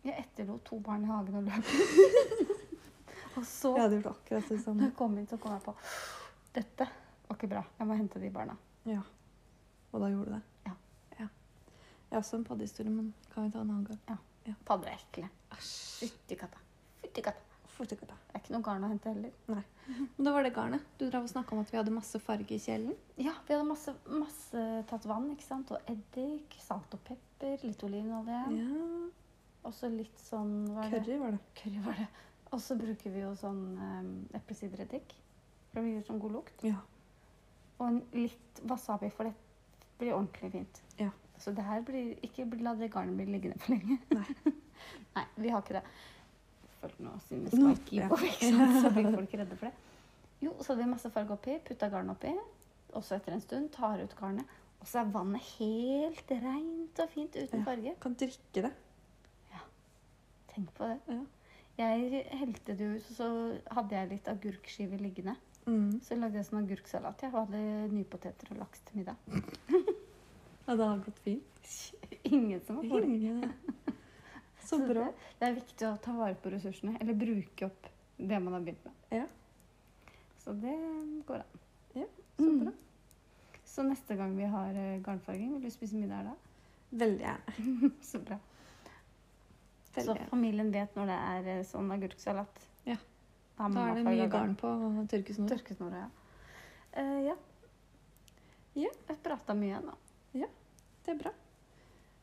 Jeg etterlot to barn i hagen og løp. og så, Jeg hadde gjort akkurat det når samme. jeg kom inn, så kom jeg på Dette var ikke bra. Jeg må hente de barna. Ja. Og da gjorde du det? Ja. ja. Jeg har også en paddehistorie, men kan vi ta en annen gang? Padder er ekle. Æsj. Fytti katta. Fytti katta. Fortsatt, da. Det er ikke noe garn å hente heller. Men da var det garnet. Du drev og snakka om at vi hadde masse farge i kjelen. Ja, vi hadde masse, masse tatt vann, ikke sant? Og eddik, salt og pepper, litt olivenolje. Ja. Og så litt sånn hva er det? Curry var det. Curry var det. Og så bruker vi jo sånn um, eplesidereddik. For det gir sånn god lukt. Ja. Og en litt wasabi, for det blir ordentlig fint. Ja. Så det her blir ikke La det garnet bli liggende for lenge. Nei. Nei, vi har ikke det. Følg nå sine Nå, spiky ja. på, ikke sant? Så blir folk redde for det. Jo, så hadde vi masse farge oppi, putta garnet oppi. Også etter en stund tar ut garnet. Og så er vannet helt rent og fint uten Ja. farge. Kan drikke det. Tenk på det. Ja. Jeg helte det ut, og så hadde jeg litt agurkskiver liggende. Mm. Så lagde jeg sånn agurksalat. Jeg hadde nypoteter og laks til middag. Ja, det har gått fint. Ingen som var fornøyd. Så bra. Det, det er viktig å ta vare på ressursene, eller bruke opp det man har begynt med. Ja. Så det går an. Mm. Ja, så bra. Så neste gang vi har eh, garnfarging, vil du spise middag her da? Veldig gjerne. Så bra. Veldig Så gjerne. familien vet når det er eh, sånn agurksalat. Ja. Da, har Da mamma er det farget mye garn på tørkesnor. Tørkesnora, ja. Eh, ja. Ja. Jeg prata mye nå. Det er bra.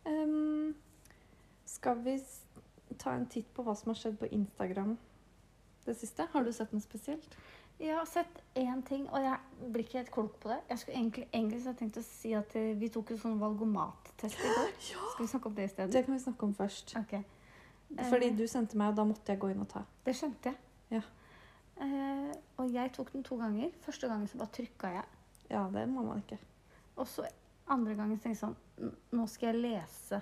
Ehm, skal vi s- ta en titt på hva som har skjedd på Instagram det siste? Har du sett noe spesielt? Jeg har sett én ting, og jeg blir ikke helt klok på det. Jeg skulle egentlig, egentlig så hadde jeg tenkt å si at eh, vi tok en sånn valgomattest i går. Ja! Skal vi snakke om det isteden? Det kan vi snakke om først. Ok. Fordi du sendte meg, og da måtte jeg gå inn og ta. Det skjønte jeg. Ja. Eh, og jeg tok den to ganger. Første gangen så bare trykka jeg. Ja, det må man ikke. Og så andre gangen så tenkte jeg sånn "N- Nå skal jeg lese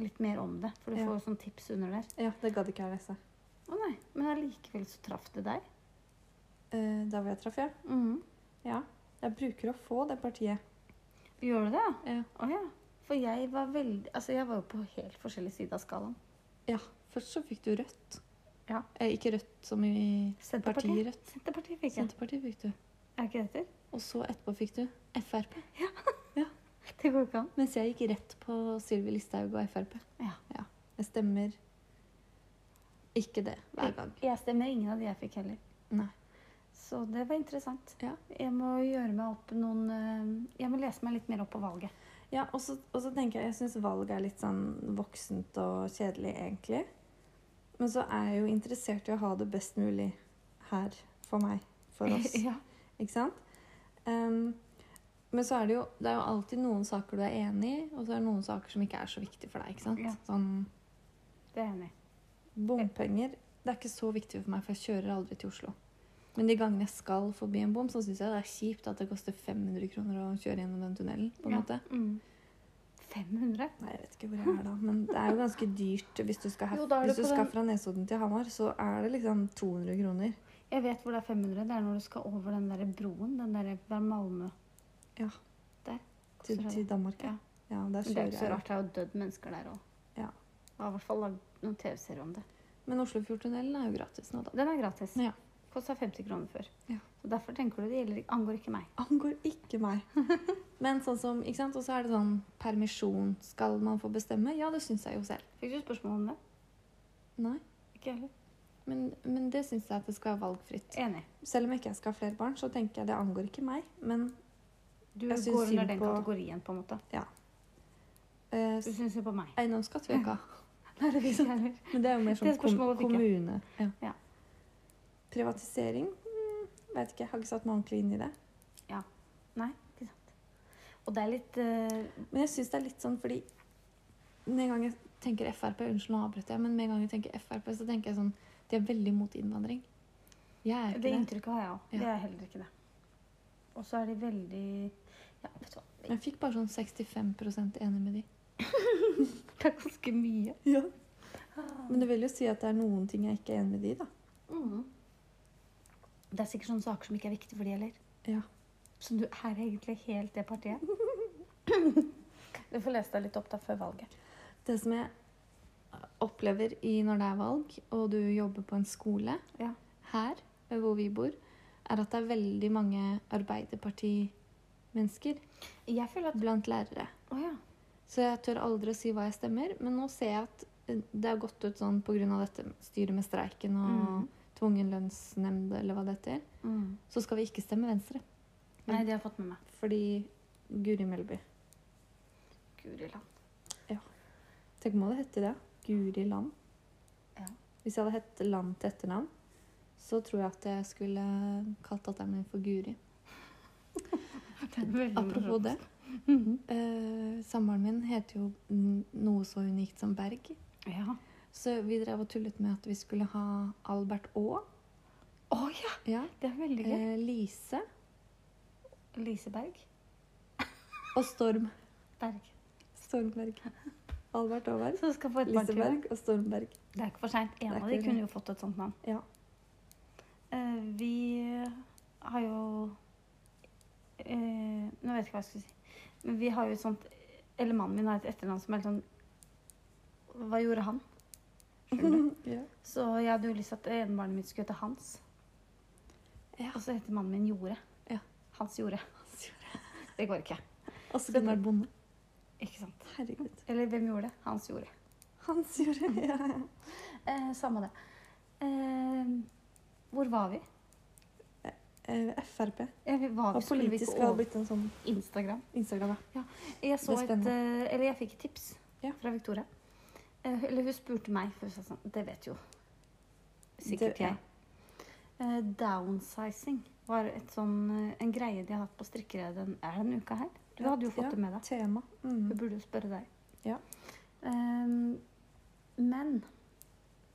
litt mer om det. For du Ja. får jo sånn tips under der. Ja, det gadd ikke jeg lese. Å nei. Men allikevel så traff det deg. Eh, der hvor jeg traff, ja. Mm-hmm. Mhm. Ja. Jeg bruker å få det partiet. Gjør du det? Ja. Å ja. For jeg var veldig Altså, jeg var jo på helt forskjellig side av skalaen. Ja, først så fikk du rødt. Ja. Eh, ikke rødt som i Senterpartiet. partirødt. Senterpartiet fikk jeg. Senterpartiet fikk du. Er ikke det etter? Og så etterpå fikk du Frp. Det går ikke an. Mens jeg gikk rett på Sylvi Listhaug og Frp. Ja. Jeg stemmer ikke det hver gang. Jeg stemmer ingen av de jeg fikk heller. Nei. Så det var interessant. Ja. Jeg må gjøre meg opp noen eh, Jeg må lese meg litt mer opp på valget. Ja, og så, og så tenker jeg jeg syns valg er litt sånn voksent og kjedelig, egentlig. Men så er jeg jo interessert i å ha det best mulig her for meg, for oss. ja. Ikke sant? Ehm, men så er det jo Det er jo alltid noen saker du er enig i, og så er det noen saker som ikke er så viktige for deg. ikke sant? Ja. Sånn Det er jeg enig i. Bompenger det er ikke så viktig for meg, for jeg kjører aldri til Oslo. Men de gangene jeg skal forbi en bom, så syns jeg det er kjipt at det koster 500 kroner å kjøre gjennom den tunnelen. på en Ja. måte. Mm. 500? Nei, jeg vet ikke hvor jeg er da, men det er jo ganske dyrt. Hvis du skal, her, Jo, da er det hvis du på skal den- fra Nesodden til Hamar, så er det liksom 200 kroner. Jeg vet hvor det er 500. Det er når du skal over den der broen. Den der det er Malmö. Ja. Der. koster Til, det. til Danmark. Ja. Ja. ja der Men det er jo ikke kjører så jeg. rart. Det er jo dødd mennesker der òg. Ja. Jeg har i hvert fall lagd noen TV-serier om det. Men Oslofjordtunnelen er jo gratis nå, da. Den er gratis. Ja. Kosta 50 kroner før. Ja. Så derfor tenker du det gjelder, angår ikke meg. Angår ikke meg. Men sånn som, ikke sant? Og så er det sånn permisjon. Skal man få bestemme? Ja, det syns jeg jo selv. Fikk du spørsmål om det? Nei. Ikke heller. Men, men det syns jeg at det skal være valgfritt. Enig. Selv om jeg ikke skal ha flere barn, så tenker jeg det angår ikke meg. Men Du Jeg syns går synd under den på- kategorien, på en måte. eh, Du syns jo på meg. eiendomsskatt vil jeg ikke ha. Nei, det vil jeg heller. Men det er jo mer Det sånn er kom spørsmålet fikk jeg. kommune. Ja. Ja. Privatisering? Mm, vet ikke, jeg har ikke satt meg ordentlig inn i det. Nei, ikke sant. Og det er litt eh, Men jeg syns det er litt sånn fordi Med en gang jeg tenker Frp Unnskyld, nå avbrøt jeg, men med en gang jeg tenker Frp, så tenker jeg sånn De er veldig mot innvandring. Jeg er Det ikke det. inntrykket har jeg òg. Ja. Det er heller ikke det. Og så er de veldig Ja, vet du hva. Men Jeg fikk bare sånn 65 enig med de. Det er ganske mye. Ja. Men det vil jo si at det er noen ting jeg ikke er enig med de, da. Mm. Det er sikkert sånne saker som ikke er viktige for de heller. Ja. Så du er egentlig helt det partiet. du får lese deg litt opp da før valget. Det som jeg opplever i når det er valg, og du jobber på en skole Ja. her hvor vi bor, er at det er veldig mange Arbeiderparti-mennesker Jeg føler at blant lærere. Å ja. Så jeg tør aldri å si hva jeg stemmer, men nå ser jeg at eh, det har gått ut sånn pga. dette styret med streiken og Mhm. tvungen lønnsnemnd eller hva det heter. Mm. Så skal vi ikke stemme Venstre, Nei, det har jeg fått med meg. fordi Guri Melby Guri land. Tenk om det hette det. Guri Land. Ja. Hvis jeg hadde hett Land til etternavn, så tror jeg at jeg skulle kalt datteren min for Guri. Apropos det. Eh, Samboeren min heter jo n- noe så unikt som Berg. Ja. Så vi drev og tullet med at vi skulle ha Albert Aa. Å ja! Ja. Det er veldig gøy. Eh, Lise Eh, Lise Berg. og Storm. Berg. Stormberg. Albert Aaberg. Så du skal få et barn til. Liseberg og Stormberg. Det er ikke for seint. En Det er av ikke de for kunne jo fått et sånt navn. Ja. Eh, vi har jo eh, Nå vet jeg ikke hva jeg skulle si. Men vi har jo et sånt Eller mannen min har et etternavn som er litt sånn Hva gjorde han? Skjønner du? ja. Så jeg hadde jo lyst til at det ene barnet mitt skulle hete Hans. Ja. Og så heter mannen min Jorde. Ja. Hans Jorde. Det går ikke. Og så kunne det vært bonde. Ikke sant? Herregud. Eller hvem gjorde det? Hans Jorde. Hans gjorde ja, ja. Eh, samme det. Eh, hvor var vi? Eh, Frp. Ja, vi var Og vi, skulle vi politisk ikke har over blitt en sånn Instagram? Instagram, ja. Jeg, så Det er et, spennende. eh, eller jeg fikk et tips Ja. fra Victoria. Eh, Eller hun spurte meg, for hun sa sånn Det vet jo sikkert Det- ja. jeg. Eh, Downsizing var et sånn, eh, en greie de har hatt på strikkeredet den- er det denne uka her. Du hadde jo fått Ja. det med deg. Tema. Hun Mm. burde jo spørre deg. Ja. Ehm, men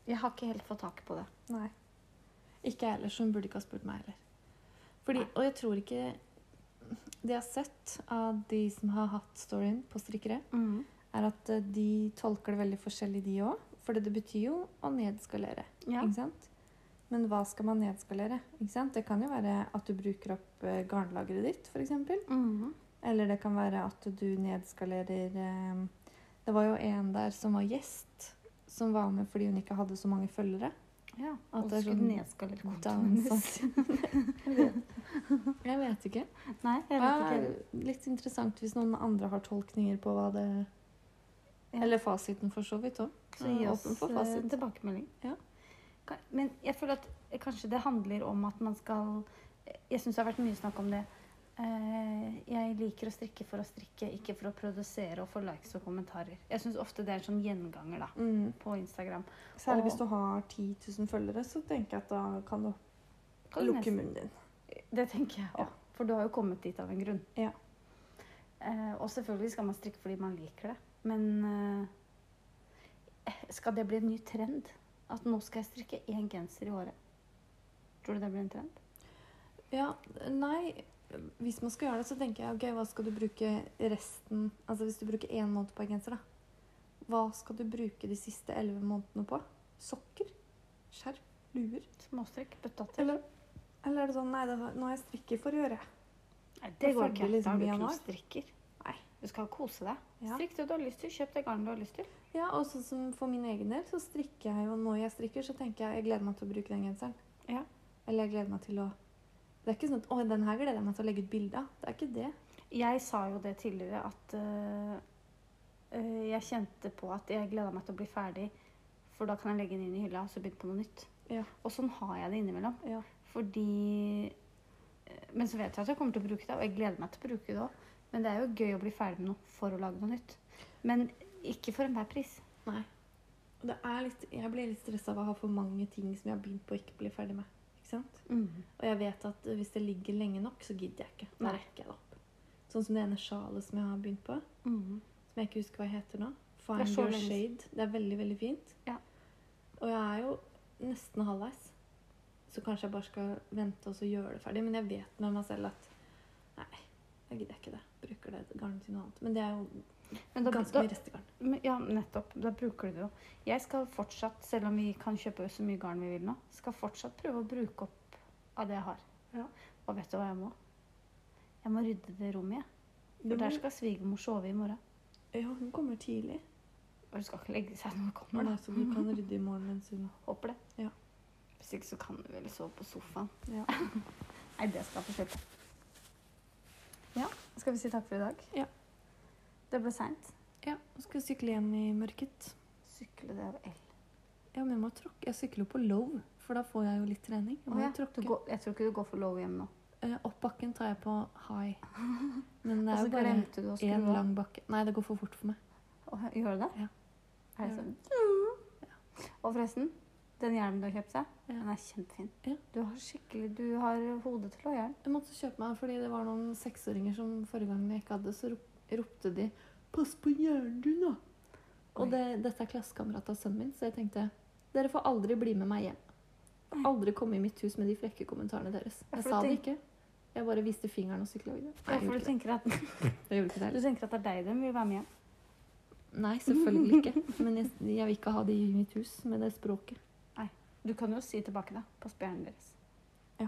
jeg har ikke helt fått tak på det. Nei. Ikke jeg heller, så hun burde ikke ha spurt meg heller. Fordi, Nei. og jeg tror ikke Det jeg har sett av de som har hatt storyen på strikkere, er at eh, de tolker det veldig forskjellig, de òg. For det betyr jo å nedskalere. Ja. Ikke sant? Men hva skal man nedskalere? Ikke sant? Det kan jo være at du bruker opp eh, garnlageret ditt, f.eks. Mhm. Eller det kan være at du nedskalerer eh, Det var jo en der som var gjest, som var med fordi hun ikke hadde så mange følgere. ja. At Og det er skulle sånn nedskalere kontoen hennes. Downsizing. Jeg vet- jeg vet ikke. Nei, jeg vet ikke. Ja, heller. litt interessant hvis noen andre har tolkninger på hva det Ja. Eller fasiten, for så vidt òg. Så gi Ja, oss åpen for eh, fasit. tilbakemelding. Ja. Ka- Men jeg føler at eh, kanskje det handler om at man skal eh, Jeg syns det har vært mye snakk om det. Eh, Jeg liker å strikke for å strikke, ikke for å produsere og få likes og kommentarer. Jeg syns ofte det er en sånn gjenganger da, Mm. på Instagram. Særlig Og- hvis du har 10 000 følgere, så tenker jeg at da kan du Kan du lukke nesten- munnen din. Det tenker jeg Ja. òg. For du har jo kommet dit av en grunn. Ja. Eh, og selvfølgelig skal man strikke fordi man liker det. Men eh, skal det bli en ny trend? At nå skal jeg strikke én genser i året? Tror du det blir en trend? Ja, nei Hvis man skal gjøre det, så tenker jeg ok, hva skal du bruke resten Altså hvis du bruker én måned på en genser, da. Hva skal du bruke de siste elleve månedene på? Sokker? Skjerf? Luer? Småstrikk, bøtta til. Eller, eller er det sånn Nei, det har, nå har jeg strikker for øret. Nei, Da det går følger ikke. liksom Da har du mye ikke noen av. strikker. Nei. Du skal kose deg. Ja. Strikk det du har lyst til. Kjøp det garnet du har lyst til. Ja, og sånn som for min egen del, så strikker jeg jo når jeg strikker, så tenker jeg jeg gleder meg til å bruke den genseren. Ja. Eller jeg gleder meg til å Det er ikke sånn at å, den her gleder jeg meg til å legge ut bilde av. Det er ikke det. Jeg sa jo det tidligere at øh, øh, jeg kjente på at jeg gleda meg til å bli ferdig, for da kan jeg legge den inn i hylla og så begynne på noe nytt. Ja. Og sånn har jeg det innimellom. Ja. Fordi øh, Men så vet jeg at jeg kommer til å bruke det, og jeg gleder meg til å bruke det òg. Men det er jo gøy å bli ferdig med noe for å lage noe nytt. Men ikke for enhver pris. Nei. Og det er litt Jeg blir litt stressa av å ha for mange ting som jeg har begynt på og ikke blir ferdig med. Ikke sant? Og jeg vet at hvis det ligger lenge nok, så gidder jeg ikke. Da Nei. rekker jeg det opp. Sånn som det ene sjalet som jeg har begynt på, Mhm. som jeg ikke husker hva heter nå. Det Find er så your lenge siden. shade. Det er veldig, veldig fint. Ja. Og jeg er jo nesten halvveis, så kanskje jeg bare skal vente og så gjøre det ferdig. Men jeg vet med meg selv at nei, jeg gidder ikke det. Bruker det garnet til noe annet. Men det er jo Men da, ganske da, mye restegarn. Men, ja, nettopp. Da bruker du det jo. Jeg skal fortsatt, selv om vi kan kjøpe så mye garn vi vil nå, skal fortsatt prøve å bruke opp av det jeg har. Ja. Og vet du hva jeg må? Jeg må rydde det rommet, jeg. For der skal svigermor sove i morgen. Ja, hun kommer tidlig. Og hun skal ikke legge seg når hun kommer, Nei, da. så du kan rydde i morgen mens hun Håper det. Ja. Hvis ikke så kan hun vel sove på sofaen. Ja. Nei, det skal jeg få slippe. Ja, skal vi si takk for i dag? Ja. Det ble seint. Ja, og skal sykle hjem i mørket. Sykle det av el. Ja, men jeg må tråkke. Jeg sykler jo på low, for da får jeg jo litt trening. Jeg må Å ja, jo du tråkke. går, jeg tror ikke du går for low hjem nå. Eh, Opp bakken tar jeg på high. Men Og det er så jo bare glemte du å skru én av. lang bakke. Nei, det går for fort for meg. Å, Gjør det det? Ja. Er det Gjør sånn? Og forresten, den hjelmen du har kjøpt deg, Ja. den er kjempefin. Ja. Du har skikkelig, du har hodet til å ha hjelm. Jeg måtte kjøpe meg fordi det var noen seksåringer som forrige gang jeg ikke hadde, så rop- ropte de 'Pass på hjernen din, da!' Og Oi. det, dette er klassekamerat av sønnen min, så jeg tenkte 'Dere får aldri bli med meg hjem'. Aldri komme i mitt hus med de frekke kommentarene deres. Ja, Jeg for sa du det ikke. Jeg bare viste fingeren og sykla videre. Ja, Jeg gjorde for du ikke det. tenker, at, Jeg gjorde ikke det du heller. tenker at det er deg de vil være med hjem. Nei, selvfølgelig ikke. Men jeg, jeg vil ikke ha de i mitt hus med det språket. Du kan jo si tilbake, da. Pass på hjernen deres. Ja.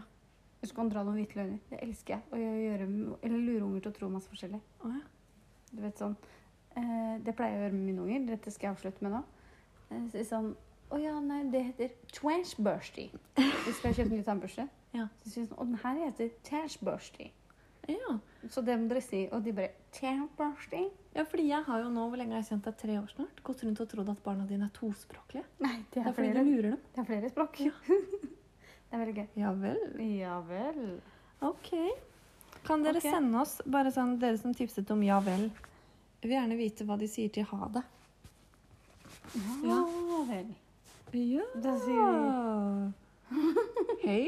Hvis du kan dra noen hvite løgner. Det elsker jeg. Å gjøre, eller lure unger til å tro masse forskjellig. Å ja. Du vet sånn eh, Det pleier jeg å gjøre med mine unger. Dette skal jeg avslutte med nå. Eh, si sånn Å ja, nei, det heter twansbursty. Hvis vi har kjøpt en ny tannbørste, Ja. så sier de sånn Å, den her heter tashbursty. ja. Så det må dere si. Og de bare tashbursty. Ja, fordi jeg har jo nå, hvor lenge har jeg kjent deg? Tre år snart. Gått rundt og trodd at barna dine er tospråklige. Nei, det Det er, er fordi flere, du lurer dem. det er flere språk. det er veldig gøy. Ja vel. Ja vel. Ok. Kan dere Ok. sende oss, bare sånn dere som tipset om ja vel Jeg vil gjerne vite hva de sier til ha det. Ja vel. Ja! Da sier Hei.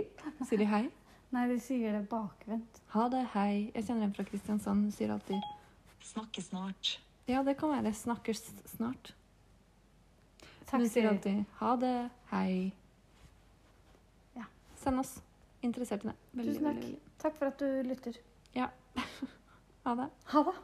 Sier de hei? Nei, de sier det bakvendt. Ha det, hei. Jeg kjenner en fra Kristiansand. Hun sier alltid Snakke snart. Ja, det kan være. Snakkes snart. Takk, Hun sier Siri. alltid ha det, hei. Ja. Send oss. Interessert i det. Veldig, Tusen takk. veldig, veldig. Takk for at du lytter. Ha det. Ha det.